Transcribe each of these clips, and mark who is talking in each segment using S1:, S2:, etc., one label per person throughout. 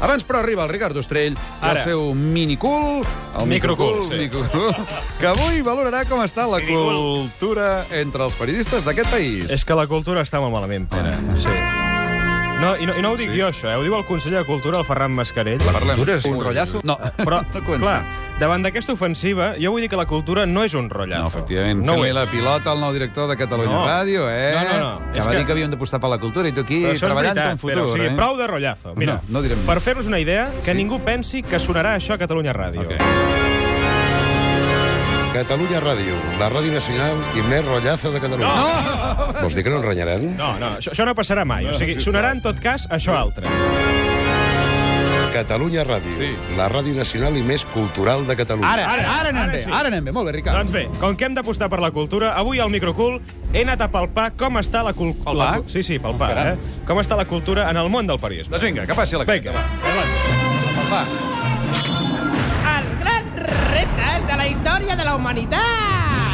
S1: Abans, però, arriba el Ricard Ostrell i
S2: Ara.
S1: el seu minicul... El
S2: Microcul, sí.
S1: microcul, que avui valorarà com està la
S2: Minicul.
S1: cultura entre els periodistes d'aquest país.
S2: És que la cultura està molt malament, Pere.
S1: Ah.
S2: Sí. No, i, no, I no ho dic sí. jo, això, eh? ho diu el conseller de Cultura, el Ferran Mascarell.
S1: La parlem. Cultura és un rotllazo? No,
S2: Ah, Però,
S1: No comencem.
S2: clar, davant d'aquesta ofensiva, jo vull dir que la cultura no és un rotllazo.
S1: No, efectivament.
S2: No ho
S1: Fent-li
S2: és.
S1: la pilota al nou director de Catalunya
S2: No.
S1: Ràdio, eh?
S2: No, no, no.
S1: Que
S2: És
S1: va
S2: que-
S1: dir que havíem d'apostar per la cultura i tu aquí
S2: Però això és
S1: treballant
S2: veritat,
S1: en futur,
S2: Pere, o sigui,
S1: eh?
S2: prou de rotllazo. Mira,
S1: No, no direm
S2: per
S1: més.
S2: fer-nos una idea, que sí. ningú pensi que sonarà això a Catalunya Ràdio.
S1: Ok.
S3: Catalunya Ràdio, la ràdio nacional i més rotllazo de Catalunya. No! Vols dir que no enranyaran?
S2: No, no, això, això no passarà mai. O sigui, sonarà en tot cas això altre.
S3: Catalunya Ràdio,
S1: Sí.
S3: la ràdio nacional i més cultural de Catalunya.
S1: Ara, ara, ara anem
S2: Ara
S1: bé,
S2: sí.
S1: ara anem bé. Molt bé, Ricard.
S2: Doncs bé, com que hem d'apostar per la cultura, avui al Microcool he anat a palpar com està la cultura...
S1: Palpar?
S2: Sí, sí, palpar,
S1: caram.
S2: eh? Com està la cultura en el món del periodisme.
S1: Doncs vinga, que passi la
S2: Vinga, va, endavant.
S1: Va.
S4: Els grans reptes de la història de la humanitat!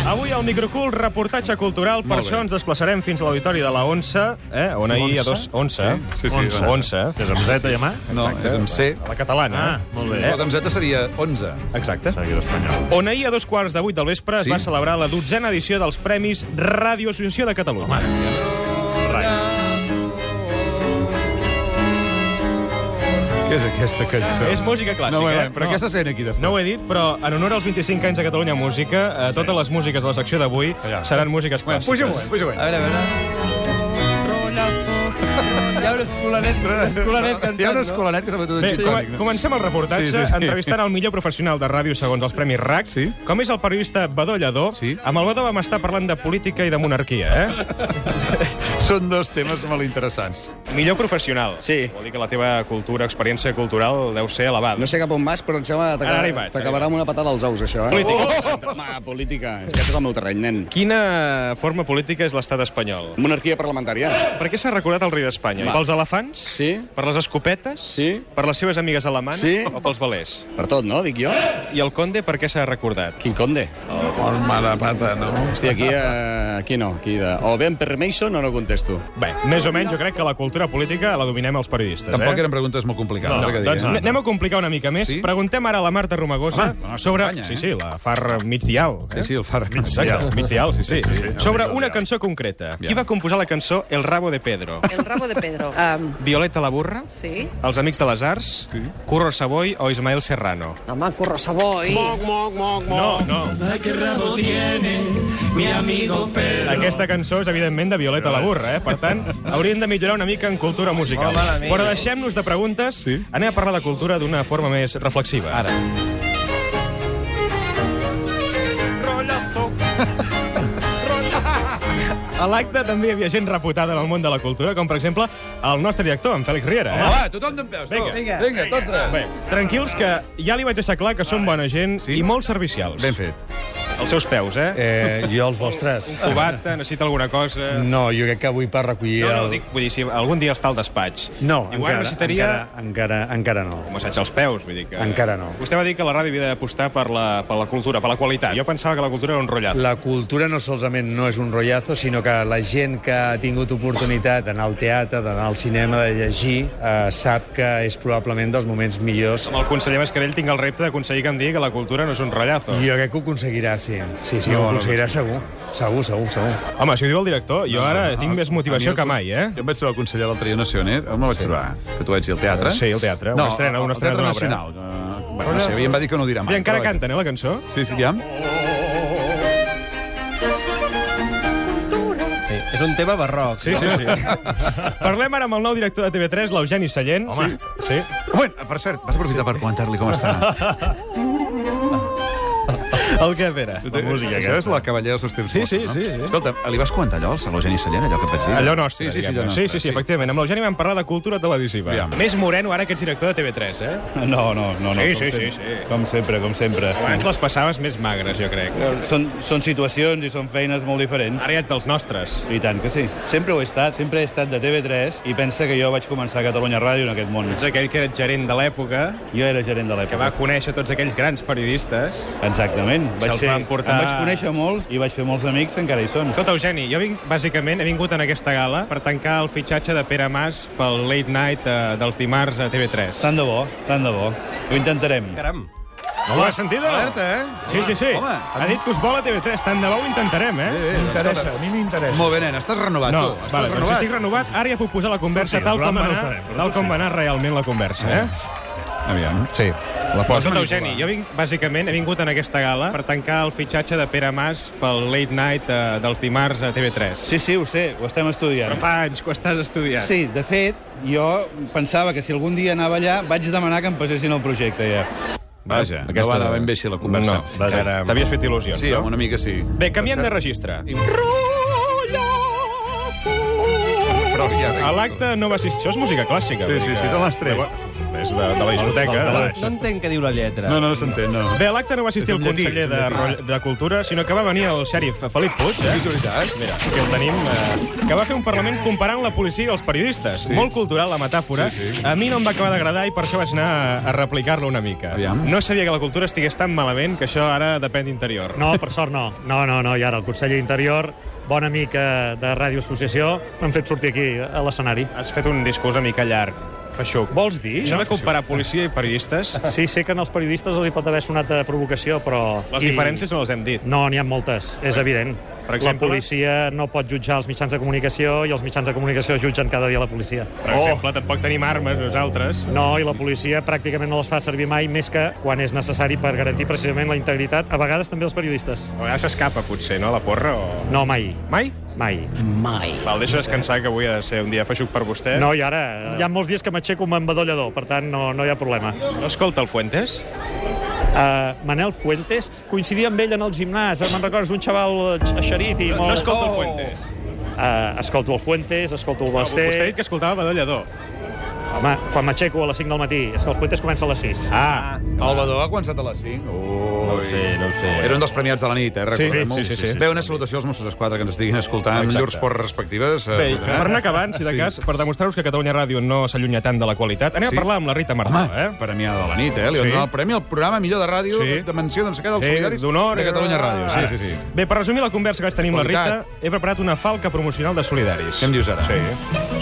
S2: Avui al Microcool, reportatge cultural. Per
S1: Molt bé.
S2: això ens desplaçarem fins a l'auditori de la Onça, eh? on ahir hi ha dos... Onça?
S1: Sí, sí, sí,
S2: Onça.
S1: Onça.
S2: Onça.
S5: Que és
S6: Ah,
S5: amb Z i amb A?
S1: No, és amb C.
S2: A la catalana. eh?
S5: Ah, molt bé.
S1: La camseta seria 11.
S2: Exacte.
S5: Seguit espanyol.
S2: On ahir a dos quarts de vuit del vespre
S1: Sí.
S2: es va celebrar la dotzena edició dels Premis Ràdio Associació de Catalunya. Home,
S1: Què és aquesta cançó?
S2: És música clàssica,
S1: No, bueno,
S2: eh?
S1: però què se sent aquí de fons?
S2: No ho he dit, però en honor als 25 anys de Catalunya Música, eh, sí. totes les músiques de la secció d'avui seran músiques clàssiques.
S1: puja un moment, puja un moment.
S7: A veure, a veure. Hi ha un escolanet, un escolanet cantant,
S1: Hi ha un
S7: no?
S1: escolanet que s'ha fotut un
S2: Bé, com
S1: xicònic. no?
S2: comencem el reportatge
S1: Sí,
S2: sí,
S1: sí,
S2: sí,
S1: sí.
S2: entrevistant el millor professional de ràdio segons els Premis RAC,
S1: Sí.
S2: com és el periodista Badó Lledó.
S1: Sí.
S2: Amb el Badó vam estar parlant de política i de monarquia, eh?
S1: Són dos temes molt interessants.
S2: Millor professional.
S8: Sí.
S2: Vol dir que la teva cultura, experiència cultural deu ser elevada.
S8: No sé cap on vas, però em sembla que
S2: Ara, ara hi
S8: t'aca-
S2: vaig,
S8: t'acabarà
S2: ara hi
S8: amb una patada als ous, això, eh?
S2: Política.
S8: Oh! Home, política. És que això és el meu terreny, nen.
S2: Quina forma política és l'estat espanyol?
S8: Monarquia parlamentària.
S2: Per què s'ha recordat el rei d'Espanya?
S8: Va.
S2: Pels elefants?
S8: Sí.
S2: Per les escopetes?
S8: Sí.
S2: Per les seves amigues alemanes?
S8: Sí.
S2: O pels velers?
S8: Per tot, no? Dic jo.
S2: I el conde per què s'ha recordat?
S8: Quin conde.
S3: Forma la pata, no?
S8: Hòstia, aquí, eh, aquí no. Aquí de... O ben permission o no contesto.
S2: Bé, més o menys jo crec que la cultura política la dominem els periodistes.
S1: Tampoc
S2: eh?
S1: eren preguntes molt complicades.
S2: No,
S1: eh, que
S2: doncs
S1: diguem.
S2: anem a complicar una mica més.
S1: Sí?
S2: Preguntem ara a la Marta Romagosa
S1: Home, la nostra
S2: sobre...
S1: companya, eh?
S2: Sí, sí, la far migdial. Eh?
S1: Ah, Sí, sí, el Farra.
S2: Exacte, migdial, sí, sí.
S5: Sí, sí, sí.
S2: Sobre
S5: El migdial.
S2: una cançó concreta. Qui va composar la cançó El rabo de Pedro?
S9: El rabo de Pedro. Um,
S2: Violeta la burra?
S9: sí.
S2: Els Amics de les Arts? Curro Savoy o Ismael Serrano?
S9: Home, Curro Savoy.
S2: No, no. Aquesta cançó és, evidentment, de Violeta la Burra, eh? Per tant, hauríem de millorar una mica en cultura musical. Però deixem-nos de preguntes. Sí. Anem a parlar de cultura d'una forma més reflexiva. Ara. A l'acte també hi havia gent reputada en el món de la cultura, com, per exemple, el nostre director, en Fèlix Riera. Eh?
S1: Va, va, tothom d'en peus. tu.
S2: Vinga.
S1: Vinga, Vinga, tots tres.
S2: Bé, tranquils, que ja li vaig deixar clar que són bona gent
S1: Sí.
S2: i molt servicials.
S1: Ben fet.
S2: Els seus peus, eh?
S6: Eh, jo els vostres.
S2: Cubata, necessita alguna cosa...
S6: No, jo crec que avui per recollir
S2: No, no,
S6: el...
S2: dic, vull dir, si algun dia està al despatch.
S6: No,
S2: Igual
S6: encara,
S2: necessitaria
S6: encara, encara, encara no.
S2: un massatge als peus, vull dir que...
S6: Encara no.
S2: Vostè va dir que la ràdio havia d'apostar per, la, per la cultura, per la qualitat. Jo pensava que la cultura era un rotllazo.
S6: La cultura no solament no és un rotllazo, sinó que la gent que ha tingut oportunitat d'anar al teatre, d'anar al cinema, de llegir, eh, sap que és probablement dels moments millors.
S2: Amb el conseller Mascarell tinc el repte d'aconseguir que em digui que la cultura no és un rotllazo.
S6: Jo crec que ho aconseguirà, sí. Sí, sí,
S1: No,
S6: ho
S1: no,
S6: aconseguirà segur. Segur, segur, segur.
S2: Home, si ho diu el director, jo ara tinc més
S1: A
S2: motivació
S1: mi el
S2: que mai, eh?
S1: Jo em vaig trobar el conseller l'altre dia a Nacioner. On me'l vaig trobar? Que tu vaig dir al teatre?
S2: Sí, al teatre.
S1: No,
S2: Una estrena, una
S1: al
S2: estrena
S1: Teatre
S2: d'una obra.
S1: Nacional. Eh, Bueno, no sé, aviam va dir que no ho dirà mai.
S2: I encara
S1: però-
S2: canten, eh, la cançó?
S1: Sí, sí, aviam.
S7: Sí, és un tema barroc.
S2: Sí, sí, sí. Parlem ara amb el nou director de TV3, l'Eugeni Sallent. Home. Sí. sí.
S1: Bueno, per cert, vas aprofitar per comentar-li com està.
S2: El que era.
S1: La
S5: música
S1: Això és
S5: aquesta.
S1: la cavallera dels temps.
S2: Sí, sí, sí, sí.
S1: Escolta, li vas comentar allò al Saló Geni Sallent, allò que et vaig dir?
S2: Allò nostre,
S1: Eh? Sí, sí, sí, allò
S2: diguem-ne.
S1: nostre.
S2: sí, sí, sí, efectivament. Amb l'Eugeni vam parlar de cultura televisiva.
S1: Aviam.
S2: Més moreno ara que ets director de TV3, eh?
S5: No, no, no. no
S2: Sí,
S5: com
S2: sí, sí,
S5: sempre,
S2: sí.
S5: Com sempre, com sempre.
S1: Mm.
S2: Abans les passaves més magres, jo crec.
S5: Són, són situacions i són feines molt diferents.
S2: Ara ja ets dels nostres.
S5: I tant que sí. Sempre ho he estat, sempre he estat de TV3 i pensa que jo vaig començar a Catalunya Ràdio en aquest món.
S2: Ets aquell que era gerent de l'època,
S5: Jo era gerent de
S2: que
S5: l'època.
S2: va conèixer tots aquells grans periodistes.
S5: Exactament. Vaig
S2: Se'ls van portar-
S5: Em vaig conèixer molts i vaig fer molts amics que encara hi són.
S2: Escolta, Eugeni, jo vinc, bàsicament he vingut en aquesta gala per tancar el fitxatge de Pere Mas pel Late Night eh, dels dimarts a TV3.
S5: Tant de bo, tant de bo. Ho intentarem.
S7: Caram.
S2: No ho has sentit, o no?
S1: Alerta, eh?
S2: Sí, sí, sí.
S1: Home,
S2: ha dit que us vol a TV3. Tant de bo ho intentarem, eh?
S1: Eh, eh,
S10: M'interessa, a mi m'interessa.
S1: Molt bé, nen, estàs renovat,
S2: No,
S1: tu. Estàs
S2: vale, doncs
S1: renovat.
S2: estic renovat. Ara ja puc posar la conversa
S10: Tu sí,
S2: tal
S10: el
S2: com va
S10: programa
S2: anar,
S10: no ho sabem, però
S2: tal
S10: tu
S2: com
S10: sí.
S2: va anar realment la conversa, eh?
S1: Aviam.
S10: Sí,
S2: Però
S10: la pots
S2: escolta,
S10: manipular.
S2: Eugeni, jo vinc, bàsicament he vingut en aquesta gala per tancar el fitxatge de Pere Mas pel Late Night eh, dels dimarts a TV3.
S5: Sí, sí, ho sé, ho estem estudiant.
S2: Però fa anys que ho estàs estudiant.
S5: Sí, de fet, jo pensava que si algun dia anava allà vaig demanar que em passessin el projecte ja.
S1: Vaja,
S10: Aquesta-
S1: no va anar ben bé així la conversa.
S2: No,
S10: vas
S1: Que-
S10: anar-
S2: T'havies fet il·lusions,
S1: Sí, home,
S2: no?
S1: una mica sí.
S2: Bé, canviem de registre.
S1: Però
S2: A
S1: ja...
S2: l'acte no va assistir... Això és música clàssica. vull dir que-
S1: l'has tret.
S2: És de, de la discoteca.
S7: No,
S2: de-
S7: no entenc què diu la lletra.
S1: No, no, no s'entén, no.
S2: Bé, a l'acte no va assistir el
S10: És un llatí,
S2: conseller
S10: és un
S2: de,
S10: llatí.
S2: Ro- de Cultura, sinó que va venir el xèrif Felip Puig, eh?
S1: És veritat?
S2: Mira, aquí el tenim, eh, que va fer un Parlament comparant la policia i els periodistes. Molt cultural, la metàfora.
S1: Sí, sí.
S2: A mi no em va acabar d'agradar i per això vaig anar a- a replicar-la una mica.
S1: Aviam.
S2: No sabia que la cultura estigués tan malament que això ara depèn d'interior.
S10: No, per sort no. No, no, no, i ara el conseller d'Interior, bon amic eh, de Ràdio Associació, m'han fet sortir aquí a l'escenari.
S2: Has fet un discurs una mica llarg, feixuc.
S10: Vols dir?
S2: Això de comparar policia i periodistes,
S10: Sí, sé que als periodistes els hi pot haver sonat de provocació, però...
S2: les
S10: i-
S2: diferències no les hem dit.
S10: No, n'hi ha moltes, és evident.
S2: Per exemple?
S10: La policia no pot jutjar els mitjans de comunicació i els mitjans de comunicació jutgen cada dia la policia. Oh,
S2: Per exemple, tampoc tenim armes nosaltres.
S10: No, i la policia pràcticament no les fa servir mai, més que quan és necessari per garantir precisament la integritat, a vegades també els periodistes.
S2: A vegades s'escapa, potser, no, la porra, o...
S10: No, mai,
S2: Mai?
S10: mai.
S2: Val, deixa descansar, que avui ha de ser un dia feixuc per vostè.
S10: No, i ara, eh, hi ha molts dies que m'aixeco amb embadollador, per tant, no, no hi ha problema.
S2: No escolta el Fuentes?
S10: Uh, Manel Fuentes, coincidia amb ell en el gimnàs, me'n recordes, un xaval eh, eixerit i molt...
S2: No escolta el Fuentes.
S1: Oh.
S10: Uh, escolto el Fuentes, escolto el
S2: No,
S10: Basté...
S2: Vostè ha dit que escoltava Badallador.
S10: Home, quan m'aixeco a les 5 del matí, és que el Fuentes comença a les 6.
S2: Ah,
S1: El Badó ha començat a les 5. Ui.
S7: No ho sé, no ho sé.
S1: Era un dels premiats de la nit, eh? Recordem-ho.
S2: sí, sí, sí, sí.
S1: Bé, una salutació als Mossos d'Esquadra que ens estiguin escoltant amb
S2: Exacte.
S1: llurs porres respectives. eh,
S2: Ah. Bé, i
S1: podran-
S2: per anar acabant, si de
S1: Sí.
S2: cas, per demostrar-vos que Catalunya Ràdio no s'allunya tant de la qualitat, anem
S1: Sí.
S2: a parlar amb la Rita
S1: Home,
S2: Martà,
S1: eh? Premià de la nit, eh? Li van
S2: Sí.
S1: donar el premi al programa millor de ràdio
S2: Sí.
S1: de menció doncs, aquest dels
S2: eh?
S1: solidaris
S2: D'honor...
S1: de Catalunya Ràdio.
S2: Ara.
S1: Sí, sí, sí.
S2: Bé, per resumir la conversa que vaig tenir amb la Rita,
S1: Qualitat.
S2: he preparat una falca promocional de Solidaris.
S1: Què em dius ara?
S2: Sí.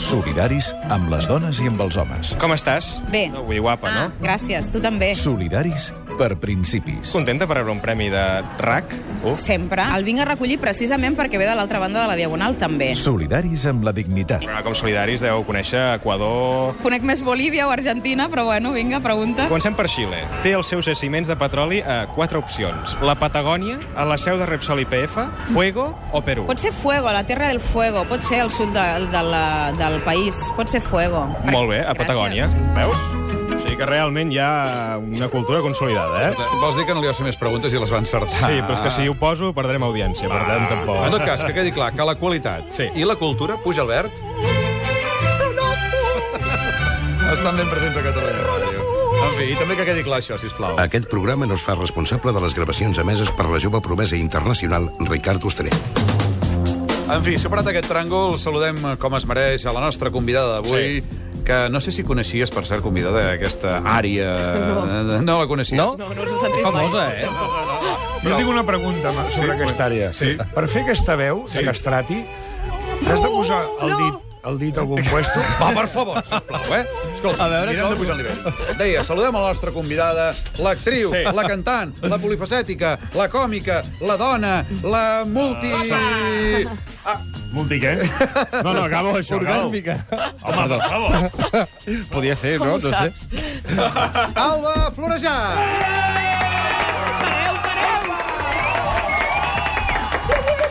S11: Solidaris amb les dones i amb els homes.
S2: Com estàs?
S12: Bé.
S2: No, avui guapa,
S12: Ah,
S2: no?
S12: gràcies, tu també.
S11: Solidaris per principis.
S2: Contenta per rebre un premi de RAC? Uh.
S12: Sempre. El vinc a recollir precisament perquè ve de l'altra banda de la Diagonal, també.
S11: Solidaris amb la dignitat.
S2: Bueno, com solidaris deveu conèixer Equador...
S12: Conec més Bolívia o Argentina, però bueno, vinga, pregunta.
S2: Comencem per Xile. Té els seus jaciments de petroli a quatre opcions. La Patagònia, a la seu de Repsol IPF, Fuego o Perú.
S12: Pot ser Fuego, la Terra del Fuego, pot ser el sud de, de la, del país, pot ser Fuego.
S2: Molt bé, a
S12: Gràcies.
S2: Patagònia. Veus? O sigui que realment hi ha una cultura consolidada, eh?
S1: Vols dir que no li vas fer més preguntes i les va encertar?
S2: Sí, però és que si ho poso perdrem audiència, per tant
S1: En tot
S2: tampoc...
S1: cas, que quedi clar que la qualitat
S2: Sí.
S1: i la cultura, puja al verd... Estan ben presents a Catalunya Ràdio. En fi, i també que quedi clar això, sisplau.
S3: Aquest programa no es fa responsable de les gravacions emeses per la jove promesa internacional Ricard Ostrer.
S1: En fi, superat aquest tràngol, saludem eh, com es mereix a la nostra convidada d'avui, que no sé si coneixies, per cert, convidada, aquesta àrea... No, no la coneixies?
S7: No?
S12: No, no us he sentit
S7: Famosa,
S12: mai.
S7: eh?
S10: Jo tinc una pregunta
S1: Sí,
S10: aquesta àrea.
S1: Sí.
S10: Per fer aquesta veu de castrati, has de posar el dit, el dit a algun puesto?
S1: Va, per favor, sisplau, eh? Escolta,
S7: A veure
S1: mirem
S7: com.
S1: de pujar el nivell. Deia, saludem a la nostra convidada, l'actriu, sí. la cantant, la polifacètica, la còmica, la dona, la multi...
S10: Multi, què? No, no, acabo això. Orgàsmica. Home, per favor.
S7: Podia ser,
S12: Com
S7: no?
S12: ho
S7: No sé.
S12: saps?
S1: Alba Florejar!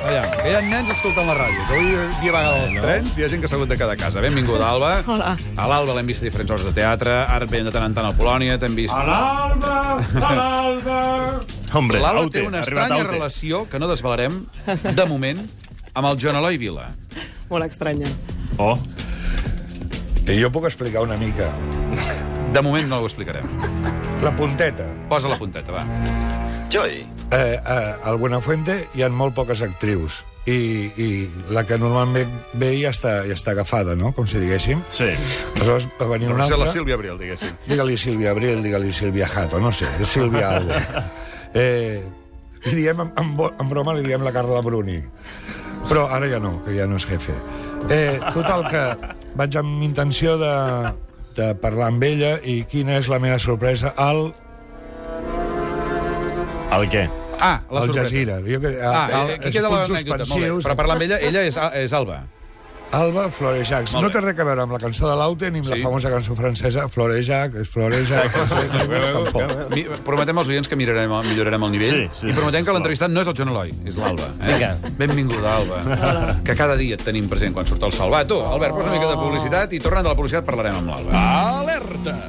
S1: Aviam, que hi ha nens escoltant la ràdio. que Avui dia van als trens i hi ha gent que s'ha hagut de quedar a casa. Benvinguda, Alba.
S12: Hola.
S1: A l'Alba l'hem vist a diferents hores de teatre, ara et veiem de tant en tant a Polònia, t'hem vist... A
S10: Hombre,
S1: L'Alba
S10: aute,
S1: té una
S10: ha arribat
S1: estranya
S10: aute.
S1: relació, que no desvelarem, de moment, amb el Joan Eloi Vila.
S9: Molt estranya.
S10: Oh.
S11: Jo puc explicar una mica.
S1: De moment no ho explicarem.
S11: La punteta.
S1: Posa la punteta, va.
S8: Joy.
S11: Eh, eh, al Buenafuente hi ha molt poques actrius. I, i la que normalment ve ja està, ja està agafada, no? Com si diguéssim.
S10: Sí.
S11: Aleshores va venir
S1: No
S11: una
S1: sé,
S11: altra...
S1: la Sílvia Abril, diguéssim.
S11: Digue-li Sílvia Abril, digue-li Sílvia Jato, no sé, Sílvia algo. Eh, Li diem, en, en, bo- en broma, li diem la Carla Bruni. Però ara ja no, que ja no és jefe. Eh, total, que vaig amb intenció de, de parlar amb ella i quina és la meva sorpresa al...
S2: El què?
S1: Ah, la
S11: al
S1: sorpresa.
S11: Jazeera. Jo, que,
S1: Ah,
S11: al-
S1: eh, aquí
S11: els
S1: queda
S11: punts
S1: l'anècdota, molt bé.
S11: suspensius.
S1: Però parlar amb ella, ella és, és Alba.
S11: Alba Florejacs.
S1: Molt
S11: No té res a veure amb la cançó de l'Aute ni amb sí. la famosa cançó francesa Florejac, és Florejac...
S1: Tampoc. Eh, Mi- Prometem als oients que mirarem, millorarem el nivell.
S11: Sí, sí,
S1: I prometem
S11: sí,
S1: que l'entrevistat no és el Joan Eloi, és l'Alba. Eh?
S7: Vinga.
S1: Benvinguda, Alba. Que cada dia et tenim present quan surt el sol. Va, tu, Albert, posa una mica de publicitat i tornant de la publicitat parlarem amb l'Alba.
S13: Alerta!